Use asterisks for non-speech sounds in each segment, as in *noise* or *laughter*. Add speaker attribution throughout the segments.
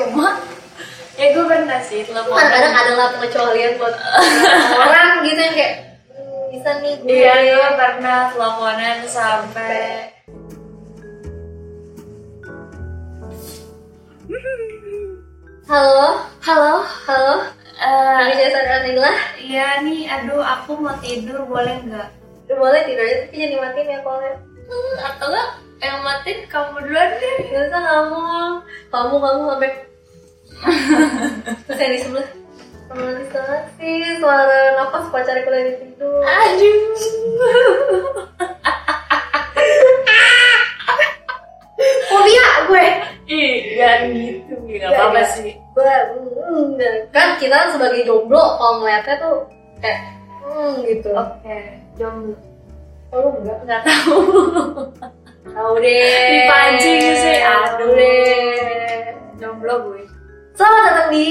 Speaker 1: rumah
Speaker 2: ya gue pernah sih telepon
Speaker 1: kadang-kadang adalah pengecualian buat
Speaker 2: *laughs*
Speaker 1: orang gitu yang kayak "Hmm, bisa nih gue
Speaker 2: iya gue pernah teleponan sampai
Speaker 1: halo halo halo
Speaker 2: eh,
Speaker 1: Indonesia Sarah Nila
Speaker 2: Iya nih, aduh aku mau tidur boleh nggak?
Speaker 1: boleh tidur aja tapi jangan dimatiin ya kolnya Hmm, atau enggak
Speaker 2: Yang matiin kamu duluan deh.
Speaker 1: nggak usah kamu kamu kamu sampai terus yang di sebelah Kamu di sebelah sih suara nafas pacarku lagi tidur
Speaker 2: Aduh.
Speaker 1: fobia gue
Speaker 2: *laughs* Ih, jangan gitu, nggak
Speaker 1: Nggak,
Speaker 2: apa-apa
Speaker 1: nggak.
Speaker 2: sih.
Speaker 1: gue hmm, dan kan kita sebagai jomblo kalau ngeliatnya tuh kayak hmm gitu
Speaker 2: Oke, jomblo.
Speaker 1: oh lu enggak
Speaker 2: Nggak tahu.
Speaker 1: tahu deh
Speaker 2: Dipancing gitu sih, aduh.
Speaker 1: tahu deh
Speaker 2: jomblo Eh, gue.
Speaker 1: selamat datang di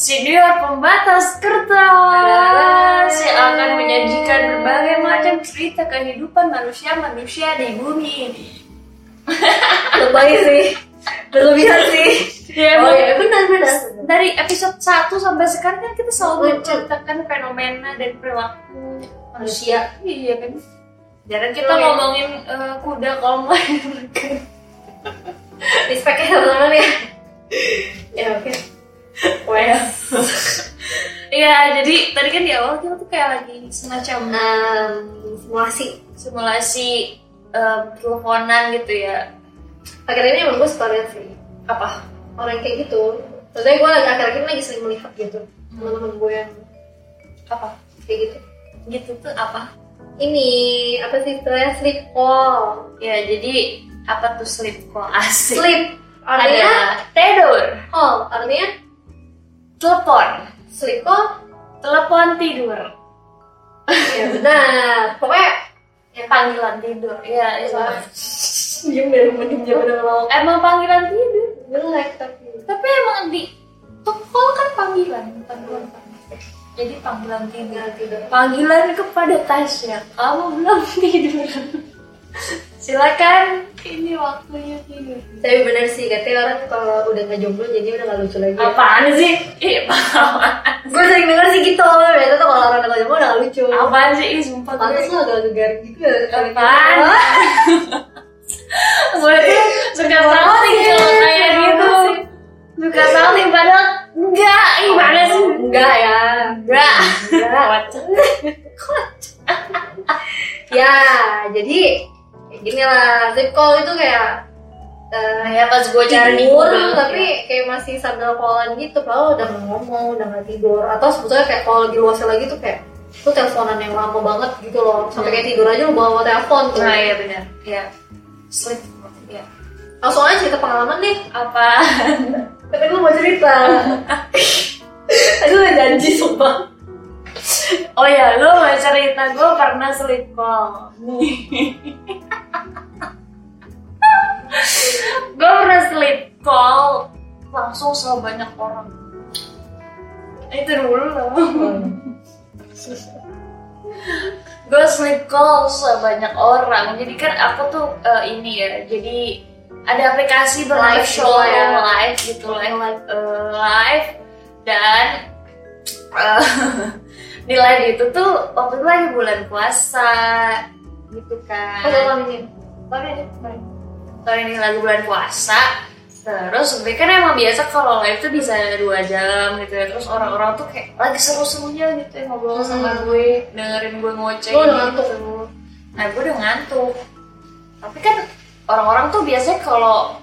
Speaker 2: Senior pembatas kertas yang akan menyajikan berbagai macam cerita kehidupan manusia-manusia di bumi ini.
Speaker 1: lebay sih berlebihan sih
Speaker 2: Ya,
Speaker 1: oh
Speaker 2: emang-
Speaker 1: iya benar benar
Speaker 2: dari episode 1 sampai sekarang kan
Speaker 1: Mm-mm.
Speaker 2: kita selalu menceritakan fenomena dan perilaku
Speaker 1: manusia
Speaker 2: Iya kan. Jarang kita
Speaker 1: Betul, ya.
Speaker 2: ngomongin eh, kuda kalau main
Speaker 1: Respect ya teman-teman ya. ya oke. Well.
Speaker 2: *laughs* Iya, jadi tadi kan di awal kita tuh kayak lagi semacam
Speaker 1: Um, simulasi.
Speaker 2: simulasi eh, teleponan gitu ya.
Speaker 1: Akhirnya ini emang gue suka banget sih.
Speaker 2: Apa?
Speaker 1: Orang yang kayak gitu. Maksudnya gue lagi akhir-akhir ini lagi sering melihat gitu. Teman-teman gue yang
Speaker 2: Apa?
Speaker 1: kayak gitu.
Speaker 2: Gitu tuh apa?
Speaker 1: Ini apa sih istilahnya sleep call?
Speaker 2: Ya, jadi apa tuh sleep call asik?
Speaker 1: Sleep. Artinya
Speaker 2: Ada tidur,
Speaker 1: call. Artinya
Speaker 2: telepon,
Speaker 1: sleep call.
Speaker 2: telepon tidur,
Speaker 1: ya benar. Pokoknya
Speaker 2: ya, panggilan tidur. Iya, itu.
Speaker 1: Wah. *laughs* diem deh, mending jauh udah mau.
Speaker 2: Emang panggilan tidur?
Speaker 1: Jelek tapi.
Speaker 2: Tapi emang di tukul kan panggilan, panggilan panggilan. Jadi panggilan tidur.
Speaker 1: Nggak tidur.
Speaker 2: Panggilan kepada Tasya, kamu belum *laughs* tidur. Silakan, ini waktunya tidur.
Speaker 1: Tapi benar sih, katanya orang kalau udah nggak jomblo jadi udah nggak lucu lagi.
Speaker 2: Apaan sih? Ih, apaan?
Speaker 1: gue sering denger sih gitu ternyata tuh kalau orang udah jomblo udah nggak lucu
Speaker 2: Apaan sih? Ih, sumpah
Speaker 1: pantas
Speaker 2: gue.
Speaker 1: lo agak gegar gitu ya
Speaker 2: Apaan? Gue tuh suka salting kalau kayak gitu. Suka salting padahal enggak. Ih, mana sih?
Speaker 1: enggak ya
Speaker 2: Enggak.
Speaker 1: Enggak. ya jadi kayak gini lah zip call itu kayak eh,
Speaker 2: Ya pas gue
Speaker 1: tidur, ya?
Speaker 2: tidur,
Speaker 1: tapi kayak masih sambil callan gitu kalau udah nggak ngomong udah nggak tidur atau sebetulnya kayak kalau di luasnya lagi tuh kayak lu teleponan yang lama banget gitu loh sampai kayak tidur aja lu bawa telepon tuh
Speaker 2: Nah iya benar. Iya. Sleep. Iya.
Speaker 1: langsung aja cerita pengalaman deh
Speaker 2: Apa? *laughs*
Speaker 1: Tapi gue mau *laughs* cerita. Tadi udah janji sumpah.
Speaker 2: Oh ya, lu mau cerita gue pernah sleep *laughs* call. gue pernah sleep call langsung sama banyak orang. Itu dulu loh. gue sleep call sebanyak eh, orang jadi kan aku tuh eh, ini ya jadi ada aplikasi ber
Speaker 1: Live
Speaker 2: live show
Speaker 1: gitu ya.
Speaker 2: yang live gitu live eh, live dan eh, *laughs* di live itu tuh waktu itu lagi bulan puasa gitu kan kemarin kemarin kemarin ini lagi bulan puasa terus gue kan emang biasa kalau live tuh bisa dua jam gitu ya terus orang-orang tuh kayak lagi seru-serunya gitu ya ngobrol sama
Speaker 1: Hmm.
Speaker 2: gue dengerin gue ngoceh
Speaker 1: Lu udah
Speaker 2: gitu. nah gue udah ngantuk tapi kan orang-orang tuh biasanya kalau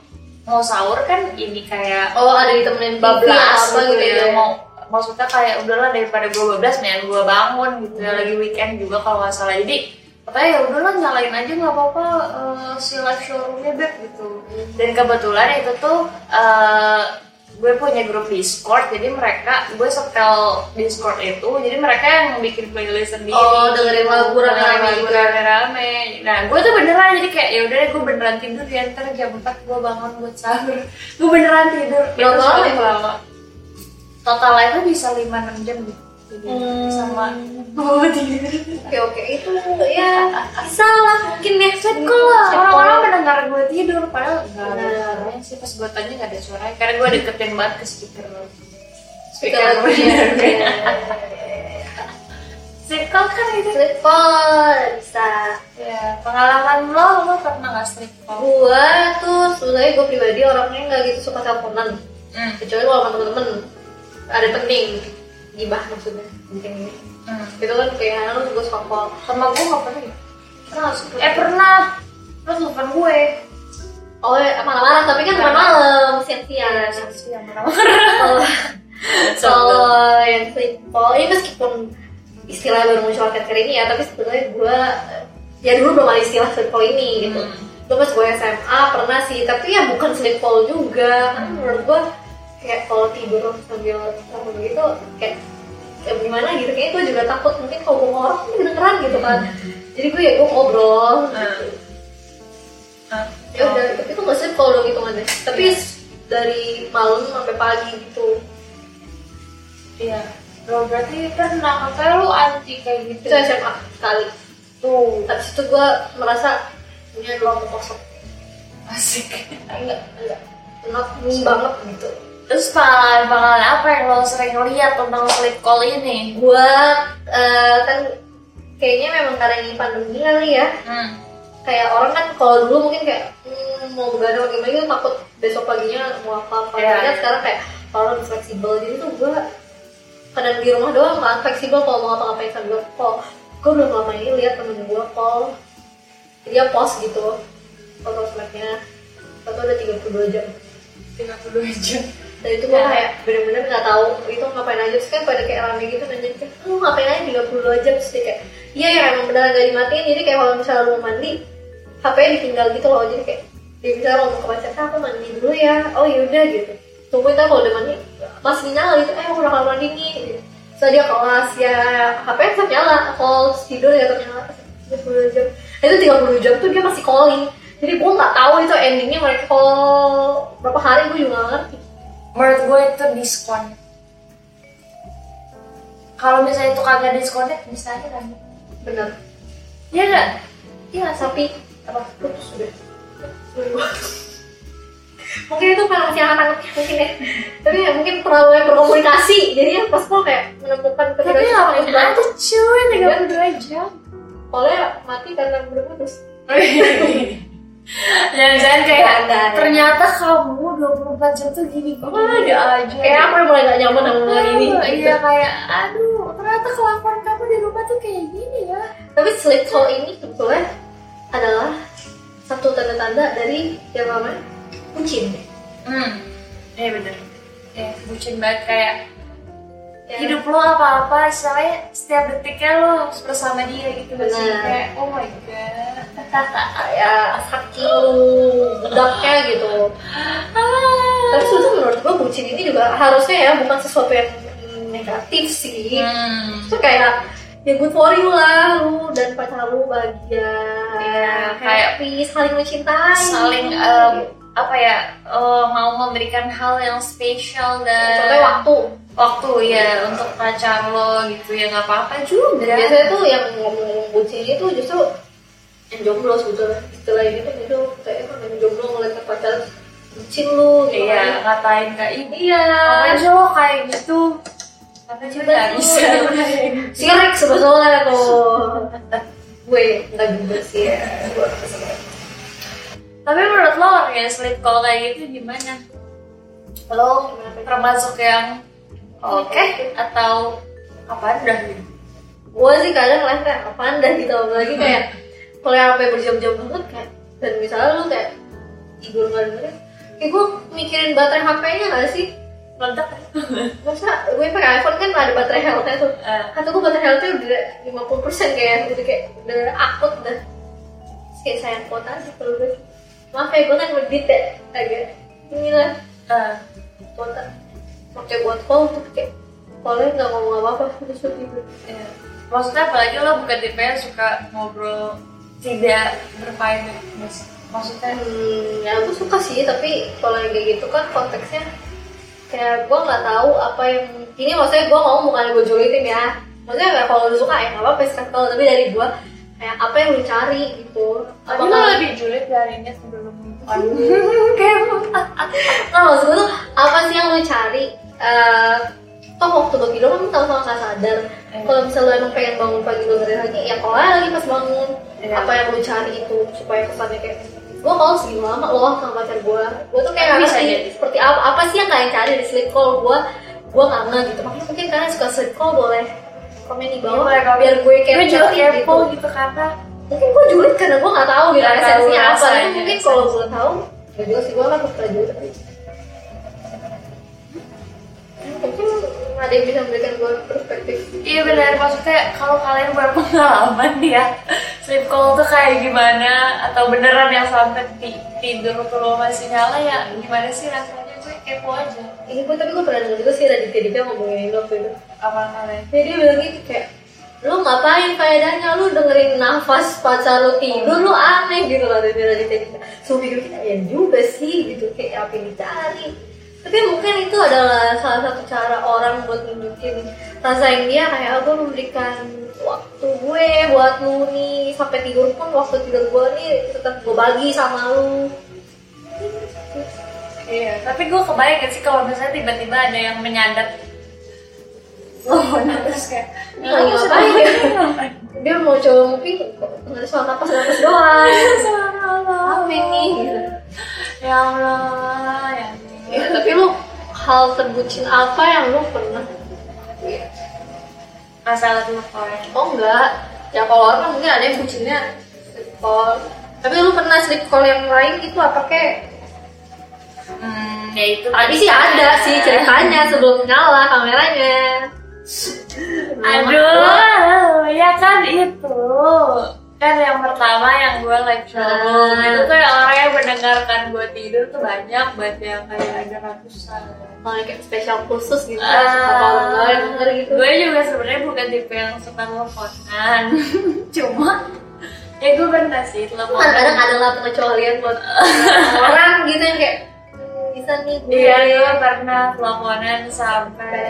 Speaker 2: mau sahur kan ini kayak
Speaker 1: Oh ada ditemenin
Speaker 2: bablas
Speaker 1: apa gitu ya?
Speaker 2: Iya, mau maksudnya kayak udahlah daripada gue bablas mendingan gue bangun gitu ya
Speaker 1: Hmm.
Speaker 2: lagi weekend juga kalau nggak salah jadi katanya ya udahlah nyalain aja nggak apa-apa eh, si live showroomnya beb gitu
Speaker 1: Hmm.
Speaker 2: dan kebetulan itu tuh eh, gue punya grup Discord jadi mereka gue setel Discord itu jadi mereka yang bikin playlist sendiri
Speaker 1: Oh, dengerin lagu rame-rame
Speaker 2: Dengerin
Speaker 1: gitu.
Speaker 2: rame-rame nah gue tuh beneran jadi kayak ya udah deh gue beneran tidur ya ntar jam 4 gue bangun buat sahur *laughs* gue beneran tidur
Speaker 1: Berapa
Speaker 2: Itu
Speaker 1: lama
Speaker 2: soalnya
Speaker 1: itu?
Speaker 2: lama total live bisa 5-6 jam gitu
Speaker 1: Hmm.
Speaker 2: sama bawa tidur
Speaker 1: Oke oke itu ya bisa lah mungkin ya set call lah
Speaker 2: orang-orang mendengar gue tidur padahal nggak ada
Speaker 1: Benar.
Speaker 2: suaranya sih pas gue tanya nggak ada suaranya karena gue deketin banget ke speaker
Speaker 1: Speaker lagi.
Speaker 2: *laughs*
Speaker 1: Iya.
Speaker 2: Sleep call kan itu
Speaker 1: Sleep call bisa.
Speaker 2: ya pengalaman lo lo pernah nggak sleep call
Speaker 1: Gua tuh sebenarnya gua pribadi orangnya nggak gitu suka teleponan.
Speaker 2: Hmm,
Speaker 1: Kecuali kalau sama temen-temen ada yang penting gibah maksudnya penting ini.
Speaker 2: hmm.
Speaker 1: Itu kan kayak lu gua suka call.
Speaker 2: sama gue nggak pernah ya?
Speaker 1: Kenapa sih?
Speaker 2: eh pernah lo telepon gue
Speaker 1: Oh ya, malam-malam tapi kan bukan malam siang-siang.
Speaker 2: siang
Speaker 1: Kalau-
Speaker 2: *laughs* so
Speaker 1: Kalau yang sleep call ini meskipun istilah baru muncul akhir ini ya, tapi sebetulnya gue ya dulu belum ada istilah sleep call ini gitu.
Speaker 2: Hmm.
Speaker 1: Dulu pas gue SMA pernah sih, tapi ya bukan sleep call juga. Kan menurut gue kayak kalau tidur sambil sambil gitu kayak kayak gimana gitu kayaknya gue juga takut mungkin kalau gue ngorok mungkin kedengeran gitu kan jadi gue ya gue ngobrol gitu. ya udah tapi itu nggak sleep call dong hitungannya tapi dari malam sampai pagi gitu
Speaker 2: iya lo berarti pernah katanya lo anti kayak gitu
Speaker 1: itu SMA sekali
Speaker 2: tuh
Speaker 1: Habis itu gue merasa punya ruang kosong
Speaker 2: asik
Speaker 1: Enggak, enggak Not me banget gitu
Speaker 2: terus pengalaman-pengalaman apa yang lo sering lihat tentang sleep call ini
Speaker 1: Gue kan kayaknya memang karena ini pandemi kali ya
Speaker 2: hmm.
Speaker 1: Kayak orang kan kalau dulu mungkin kayak hmm, mau begadang gimana gitu takut besok paginya mau apa-apa
Speaker 2: Iya.
Speaker 1: Ternyata sekarang kayak orang lebih fleksibel Jadi tuh gue kadang di rumah doang kan fleksibel kalau mau ngapa-ngapain sambil call Gue belum lama ini lihat temen gue call Dia post gitu foto snapnya Foto udah 32 jam
Speaker 2: 32 jam
Speaker 1: dan itu gue kayak bener-bener nggak tahu itu ngapain aja terus kan pada kayak rame gitu nanya kayak lu ngapain aja 32 jam terus dia kayak iya ya emang beneran nggak dimatiin jadi kayak kalau misalnya lu mau mandi HP-nya ditinggal gitu loh jadi kayak dia bisa ngomong ke pacarnya aku mandi dulu ya oh yaudah gitu tungguin ntar kalau udah mandi masih nyala gitu eh aku udah kamar mandi nih gitu. terus dia kelas ya HP tetap nyala call tidur ya tetap nyala 32 jam Nah, itu 30 jam tuh dia masih calling jadi gue nggak tahu itu endingnya mereka call berapa hari gue juga nggak ngerti
Speaker 2: menurut gue itu diskon kalau misalnya itu kagak diskonnya bisa aja kan
Speaker 1: bener
Speaker 2: iya nggak iya nggak, Sab?
Speaker 1: tapi apa putus sudah *laughs* mungkin itu kalau masih anak mungkin ya tapi ya mungkin terlalu yang berkomunikasi jadi ya pas gua kayak menemukan
Speaker 2: tapi ya, ngapain
Speaker 1: banget
Speaker 2: aja cuy 32 jam
Speaker 1: oleh mati karena udah putus
Speaker 2: Jangan-jangan kayak
Speaker 1: Ada.
Speaker 2: ternyata kamu 24 jam tuh gini
Speaker 1: Oh, ada
Speaker 2: aja
Speaker 1: kayak aku yang mulai gak nyaman sama hubungan ini gitu.
Speaker 2: Iya kayak aduh ternyata kelakuan kamu di rumah tuh kayak gini ya.
Speaker 1: tapi sleep call ini sebetulnya adalah satu tanda-tanda dari yang namanya bucin
Speaker 2: Hmm. Iya bener. Ya bucin banget kayak
Speaker 1: Ya.
Speaker 2: hidup lo apa-apa istilahnya setiap detiknya lo harus bersama dia gitu gak sih?
Speaker 1: Bener.
Speaker 2: kayak oh my god
Speaker 1: kayak saking budaknya gitu Tapi sebetulnya menurut gue bucin ini juga harusnya ya bukan sesuatu yang negatif sih.
Speaker 2: hmm.
Speaker 1: Itu kayak ya good for you lah lu dan pacar lu bahagia,
Speaker 2: Iya,
Speaker 1: happy, saling mencintai,
Speaker 2: saling em, apa ya eh, mau memberikan hal yang spesial dan
Speaker 1: Contohnya waktu.
Speaker 2: waktu ya untuk pacar lo gitu ya nggak
Speaker 1: Dan
Speaker 2: apa-apa juga
Speaker 1: biasanya tuh yang ngomong bucin itu justru yang jomblo sebetulnya. Setelah ini tuh justru kayak kan yang jomblo ngeliat ke pacar bucin lu, gitu.
Speaker 2: iya ngatain kayak ini
Speaker 1: Iya.
Speaker 2: apa aja lo kayak gitu Iya, apa aja
Speaker 1: Bener,
Speaker 2: nggak bisa
Speaker 1: iya. Sirik sebetulnya tuh. gue nggak juga sih ya. Gue kesel.
Speaker 2: tapi menurut lo orang yang sleep call kayak gitu gimana lo termasuk yang oke atau apa udah gitu
Speaker 1: gue sih kadang ngerasa kayak apaan dah gitu apalagi kayak kalau yang sampai berjam-jam banget kayak dan misalnya lu kayak tidur nggak dengerin ya gue mikirin baterai HP-nya nggak sih
Speaker 2: meledak
Speaker 1: masa gue pakai iPhone kan ada baterai health-nya tuh
Speaker 2: Eh.
Speaker 1: kata gue baterai health-nya udah 50 kayak gitu kayak udah akut dah Terus kayak sayang kota sih kalau gue maaf ya gue kan medit ya agak inilah
Speaker 2: Eh,
Speaker 1: kota pakai buat call tuh kayak callnya nggak ngomong apa-apa terus gue tidur
Speaker 2: iya. maksudnya apalagi lo bukan tipe yang suka ngobrol tidak berfaedah
Speaker 1: Eh, ya,
Speaker 2: maksudnya
Speaker 1: Hmm, ya aku suka sih, tapi kalau yang kayak gitu kan konteksnya kayak gue nggak tahu apa yang ini maksudnya gue mau bukan gue julitin ya maksudnya kayak kalau lu suka ya nggak apa-apa circle tapi dari gue kayak apa yang lu cari gitu
Speaker 2: Tapi
Speaker 1: Apakah-
Speaker 2: lo lebih julid dari ini sebelum on. *laughs*
Speaker 1: kayak nah, maksud gue tuh apa sih yang lu cari Eh, toh waktu lo tidur kan tahu sama nggak sadar
Speaker 2: Iya.
Speaker 1: kalau misalnya lu emang pengen bangun pagi lu ngerjain lagi ya kalau aja lagi pas bangun
Speaker 2: Iya.
Speaker 1: apa yang lu cari itu supaya kesannya kayak gue kalau segini lama loh sama pacar gue gue tuh kayak
Speaker 2: Tapi
Speaker 1: nggak
Speaker 2: bisa
Speaker 1: ngerti
Speaker 2: jadi.
Speaker 1: seperti apa apa sih yang kalian cari di sleep call gue gue kangen gitu makanya mungkin kalian suka sleep call boleh komen di bawah biar gue
Speaker 2: Iya, gue
Speaker 1: kayak
Speaker 2: juga
Speaker 1: ngerti
Speaker 2: kepo gitu karena
Speaker 1: mungkin gue julid karena gue nggak tahu gitu
Speaker 2: Nggak tahu
Speaker 1: esensinya apa
Speaker 2: rasanya.
Speaker 1: Tapi mungkin kalau gue tahu gak juga sih gue kan suka julid tapi Hmm, mungkin ada yang bisa memberikan gue perspektif
Speaker 2: Iya benar maksudnya kalau kalian berpengalaman *laughs* ya sleep call tuh kayak gimana atau beneran yang sampai ti- tidur kalau masih nyala ya gimana sih rasanya gue kepo aja
Speaker 1: ini gue Iya, tapi gue pernah denger juga sih Raditya Dika ngomongin ini waktu itu
Speaker 2: apa kalian
Speaker 1: jadi dia bilang gitu kayak lu ngapain faedahnya lu dengerin nafas pacar lu tidur lu aneh gitu lah dari dari tadi so pikir kita ya juga sih gitu kayak apa yang dicari tapi mungkin itu adalah salah satu cara orang buat nunjukin rasa yang dia kayak aku memberikan waktu gue buat lu nih sampai tidur pun waktu tidur gue nih tetap gue bagi sama lu
Speaker 2: Iya tapi gue kebayang gak sih kalau misalnya tiba-tiba ada yang menyandat Oh, terus kayak
Speaker 1: Lagi
Speaker 2: "Lu
Speaker 1: ngapain?"
Speaker 2: sedang ngapain?
Speaker 1: *laughs* dia mau coba mungkin nggak soal nafas nafas doang
Speaker 2: Oh.
Speaker 1: Apa ini? Gitu.
Speaker 2: Ya Allah, ya
Speaker 1: Ya,
Speaker 2: Allah.
Speaker 1: tapi lu hal terbucin apa yang lu pernah?
Speaker 2: Masalah tuh orang.
Speaker 1: Oh enggak, ya kalau orang kan mungkin ada yang bucinnya sleep call. Tapi lu pernah sleep call yang lain gitu apa kek?
Speaker 2: Hmm, ya itu.
Speaker 1: Tadi sih ada sih ceritanya sebelum nyala kameranya.
Speaker 2: Aduh, ya kan itu kan yang pertama yang gue like trouble
Speaker 1: Ah.
Speaker 2: itu tuh yang orang yang mendengarkan gue tidur tuh banyak banget yang kayak ada ratusan.
Speaker 1: Kalau kayak spesial khusus gitu,
Speaker 2: Ah.
Speaker 1: suka kalau enggak yang denger gitu.
Speaker 2: Gue juga sebenarnya bukan tipe yang suka
Speaker 1: *laughs*
Speaker 2: teleponan, cuma ya gue pernah sih teleponan.
Speaker 1: Kadang-kadang kan ada lah pengecualian buat orang gitu yang kayak "Hmm, bisa nih gue.
Speaker 2: Iya, gue pernah teleponan
Speaker 1: Iya.
Speaker 2: sampai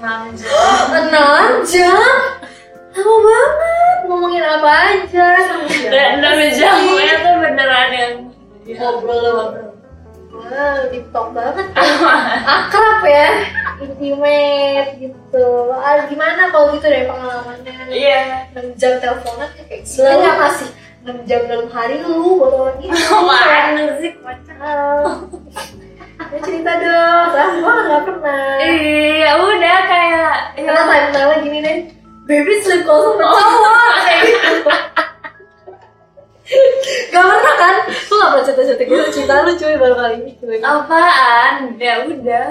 Speaker 2: enam jam.
Speaker 1: Enam jam? Oh, Lama banget ngomongin apa aja.
Speaker 2: Dan enam jamnya Iya, tuh beneran yang
Speaker 1: ngobrol loh. Wow, deep talk banget. ya. Akrab ya, intimate gitu. Ah, gimana kalau gitu dari pengalamannya?
Speaker 2: Iya.
Speaker 1: 6 jam teleponan kayak gitu. Enggak kasih 6 jam dalam hari lu buat orang
Speaker 2: *laughs*
Speaker 1: gitu.
Speaker 2: Apaan sih pacar?
Speaker 1: Ya cerita dong. Ah, gua enggak pernah.
Speaker 2: Iya udah kayak ya
Speaker 1: Karena time lagi gini deh. Baby sleep call
Speaker 2: Oh,
Speaker 1: sama cowok. Kayak gitu. Gak pernah kan? Lu gak pernah cerita-cerita gitu Cerita lu cuy baru kali ini cuy
Speaker 2: apaan? Ya udah.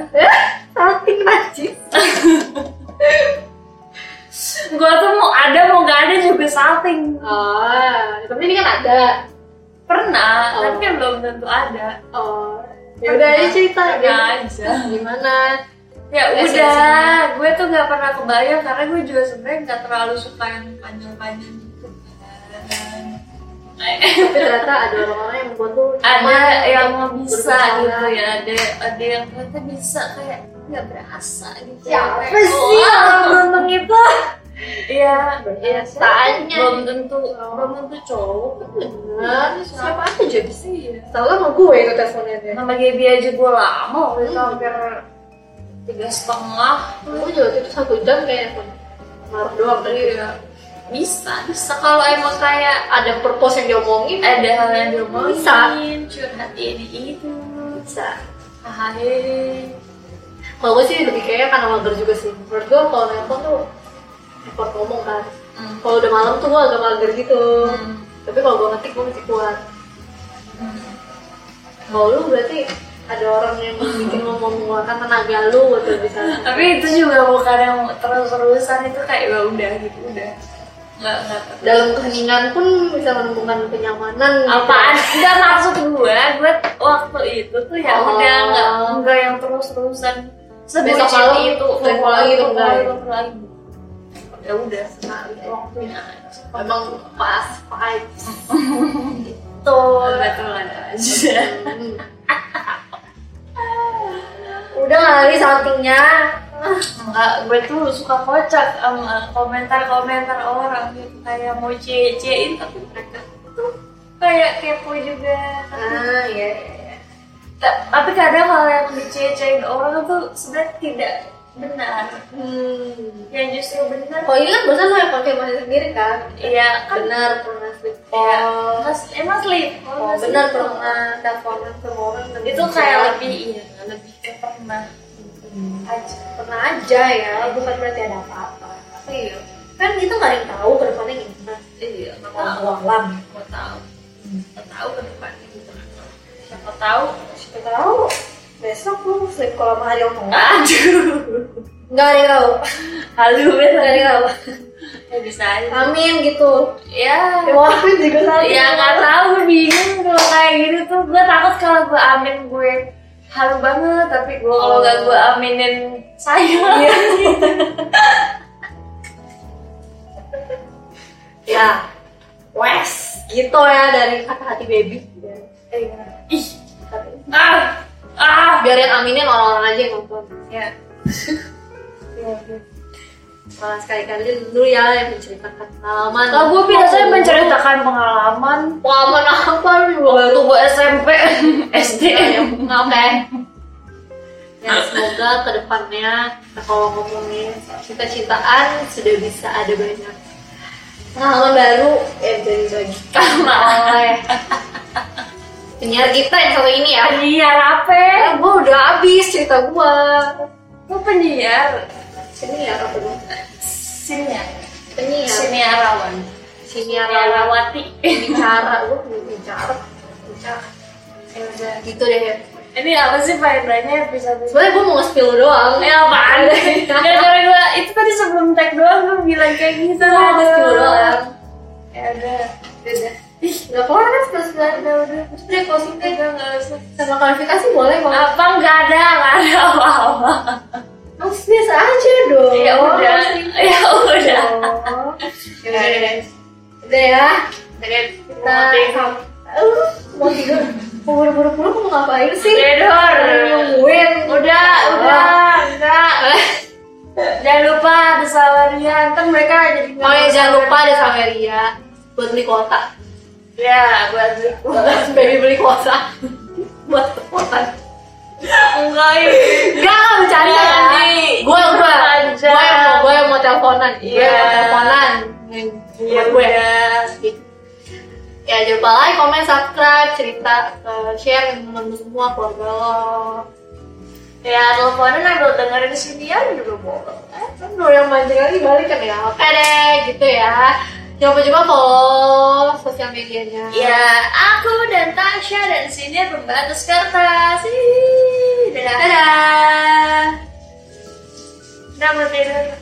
Speaker 1: Sakit Eh, najis
Speaker 2: Gua tuh mau ada mau gak ada juga salting.
Speaker 1: Ah, tapi ini kan ada.
Speaker 2: Pernah,
Speaker 1: Oh.
Speaker 2: tapi kan belum tentu ada.
Speaker 1: Oh. Ya udah aja cerita
Speaker 2: Pernah
Speaker 1: gimana?
Speaker 2: aja.
Speaker 1: Gimana?
Speaker 2: Ya
Speaker 1: Ya,
Speaker 2: udah, gue tuh gak pernah kebayang karena gue juga sebenarnya gak terlalu suka yang panjang-panjang gitu. kan.
Speaker 1: Tapi ternyata ada orang-orang yang buat tuh
Speaker 2: ada
Speaker 1: nyaman,
Speaker 2: yang
Speaker 1: kayak
Speaker 2: mau bisa
Speaker 1: berbicara.
Speaker 2: gitu ya, ada ada yang ternyata bisa kayak nggak berasa gitu.
Speaker 1: Siapa
Speaker 2: Kayak,
Speaker 1: sih
Speaker 2: "Wow."
Speaker 1: yang beruntung itu?
Speaker 2: Iya,
Speaker 1: Iya, tanya.
Speaker 2: belum tentu
Speaker 1: Oh.
Speaker 2: belum tentu cowok
Speaker 1: Bener, Iya, siapa aja jadi sih?
Speaker 2: Iya.
Speaker 1: Salah sama gue itu teleponnya dia.
Speaker 2: nama GB aja gue lama waktu
Speaker 1: Hmm.
Speaker 2: itu hampir tiga setengah
Speaker 1: Gue juga waktu itu satu jam kayaknya tuh. Marah doang tadi.
Speaker 2: Iya. bisa bisa kalau emang kayak
Speaker 1: Ada purpose yang diomongin?
Speaker 2: ada hal yang diomongin
Speaker 1: Bisa.
Speaker 2: curhat ini itu
Speaker 1: Bisa.
Speaker 2: hai
Speaker 1: Kalau gue sih lebih kayaknya karena mager juga sih. Menurut gue kalau nelpon tuh repot ngomong kan.
Speaker 2: Hmm.
Speaker 1: Kalau udah malam tuh gue agak mager gitu.
Speaker 2: Hmm.
Speaker 1: Tapi kalau gue ngetik gue masih kuat. Kalau lu berarti ada orang yang bikin lo mau mengeluarkan kan tenaga lu gitu buat lu bisa.
Speaker 2: tapi itu juga bukan yang terus-terusan itu kayak ya udah gitu udah nggak nggak
Speaker 1: Dalam keheningan pun bisa menemukan kenyamanan. gitu. *laughs*
Speaker 2: apaan nggak maksud gue gue waktu itu tuh ya
Speaker 1: Oh.
Speaker 2: udah nggak nggak yang terus-terusan
Speaker 1: Besok
Speaker 2: sebucin
Speaker 1: malam
Speaker 2: itu
Speaker 1: telepon lagi tuh,
Speaker 2: telepon lagi,
Speaker 1: enggak.
Speaker 2: telepon lagi ya udah sekali waktunya aja.
Speaker 1: Nah, gitu. Emang pas vibes. Nah,
Speaker 2: betul betul aja
Speaker 1: Hmm. *laughs* udah kali saltingnya
Speaker 2: Enggak, gue tuh suka kocak sama komentar-komentar orang gitu kayak mau cie-ciein tapi mereka tuh kayak kepo juga.
Speaker 1: ah iya iya.
Speaker 2: Ta- Tapi kadang hal yang dicie-ciein orang tuh sebenarnya tidak benar.
Speaker 1: hmm
Speaker 2: Yang justru benar
Speaker 1: kalau ini kan bosan lo yang pakai bahasa sendiri kan
Speaker 2: Iya kan
Speaker 1: benar pernah sleep
Speaker 2: ya,
Speaker 1: call
Speaker 2: mas, emang sleep.
Speaker 1: oh,
Speaker 2: mas,
Speaker 1: benar
Speaker 2: sleep.
Speaker 1: pernah teleponan sama orang kan dan
Speaker 2: Itu kayak lebih iya, lebih ke pernah aja.
Speaker 1: pernah aja ya bukan berarti ada apa-apa tapi ya kan itu nggak ada yang tahu ke depannya gimana
Speaker 2: Iya,
Speaker 1: Wah,
Speaker 2: makanya
Speaker 1: wah, wah.
Speaker 2: mau tahu. Mau tahu ke depannya gimana. Siapa tahu
Speaker 1: Siapa tahu besok lu sleep call sama hari omong
Speaker 2: Aduh,
Speaker 1: nggak ada yang tahu
Speaker 2: halu
Speaker 1: nggak ada
Speaker 2: banget.
Speaker 1: yang tahu
Speaker 2: Ya bisa aja.
Speaker 1: amin gitu
Speaker 2: Ya,
Speaker 1: wah Iya, kan? juga salah
Speaker 2: ya nggak tahu gue bingung kalau kayak gitu tuh. Gue takut kalau gue amin gue halu banget, tapi gue kalau nggak gue aminin saya. *laughs*
Speaker 1: Iya. ya wes gitu ya dari kata hati baby Eh,
Speaker 2: Ih,
Speaker 1: kata-
Speaker 2: ah, ah.
Speaker 1: biar yang aminin orang-orang aja yang nonton
Speaker 2: Ya, Iya,
Speaker 1: malah sekali-kali dulu ya yang menceritakan pengalaman
Speaker 2: kalau gue biasanya menceritakan pengalaman
Speaker 1: pengalaman apa lu
Speaker 2: waktu gue *laughs* SMP, SD.
Speaker 1: Oke. Ya semoga kedepannya kita kalau ngomongin cita-citaan sudah bisa ada banyak pengalaman baru yang jadi lagi oleh penyiar kita yang satu ini ya.
Speaker 2: Penyiar apa?
Speaker 1: Ya, gua udah habis cerita gua.
Speaker 2: Gue penyiar
Speaker 1: Sini ya apa gua?
Speaker 2: siniar, Iya.
Speaker 1: Penyiar.
Speaker 2: siniarawan,
Speaker 1: Siniar lewat
Speaker 2: siniarawati.
Speaker 1: ya, bicara gua bicara. Bicara.
Speaker 2: Ya udah.
Speaker 1: Gitu deh ya.
Speaker 2: Ini apa sih faedahnya episode
Speaker 1: Sebenarnya gua mau nge-spill doang.
Speaker 2: Eh apaan sih? Gara-gara gue, itu tadi sebelum tag doang gue bilang kayak gitu
Speaker 1: Gua mau nge-spill doang.
Speaker 2: Ya udah
Speaker 1: Udah. Ih, nggak keluar kan terus nggak ada udah. Terus dia closing deh.
Speaker 2: Udah gak usah
Speaker 1: Sama klarifikasi boleh kok.
Speaker 2: Apa nggak ada, nggak ada apa-apa
Speaker 1: Harus biasa aja dong.
Speaker 2: Ya udah, ya udah
Speaker 1: Oh. Ya udah deh. Udah ya.
Speaker 2: Jadi
Speaker 1: Kita
Speaker 2: Nah.
Speaker 1: Uh, mau tidur. Mau buru-buru pulang mau ngapain sih?
Speaker 2: Dedor
Speaker 1: Nungguin.
Speaker 2: Udah, udah, enggak Jangan lupa ada salarian, kan mereka jadi nggak
Speaker 1: Oh ya jangan
Speaker 2: mau
Speaker 1: lupa ada
Speaker 2: sawarian.
Speaker 1: Sameria buat beli kuota. *laughs*
Speaker 2: Ya, buat
Speaker 1: Baby beli kuota buat kuota.
Speaker 2: Enggak,
Speaker 1: Enggak, enggak bercanda
Speaker 2: Jangan
Speaker 1: ya.
Speaker 2: di-
Speaker 1: Gue yang gue, gue
Speaker 2: aja.
Speaker 1: yang mau, gue yang mau teleponan. Gue yang mau
Speaker 2: Iya.
Speaker 1: teleponan. Iya.
Speaker 2: ya
Speaker 1: Buat gue. Ya jangan lupa like, comment, subscribe, cerita, eh, share ke temen lu semua keluarga lo.
Speaker 2: Ya, teleponan agak dengerin sinian juga boleh
Speaker 1: Kan lo yang mancing lagi balik kan ya. Oke deh, gitu ya. Jangan lupa juga follow sosial medianya.
Speaker 2: Ya, aku dan Tasya dan sini pembatas kertas. Hihihi. Dadah.
Speaker 1: Dadah.
Speaker 2: Dadah. mau tidur.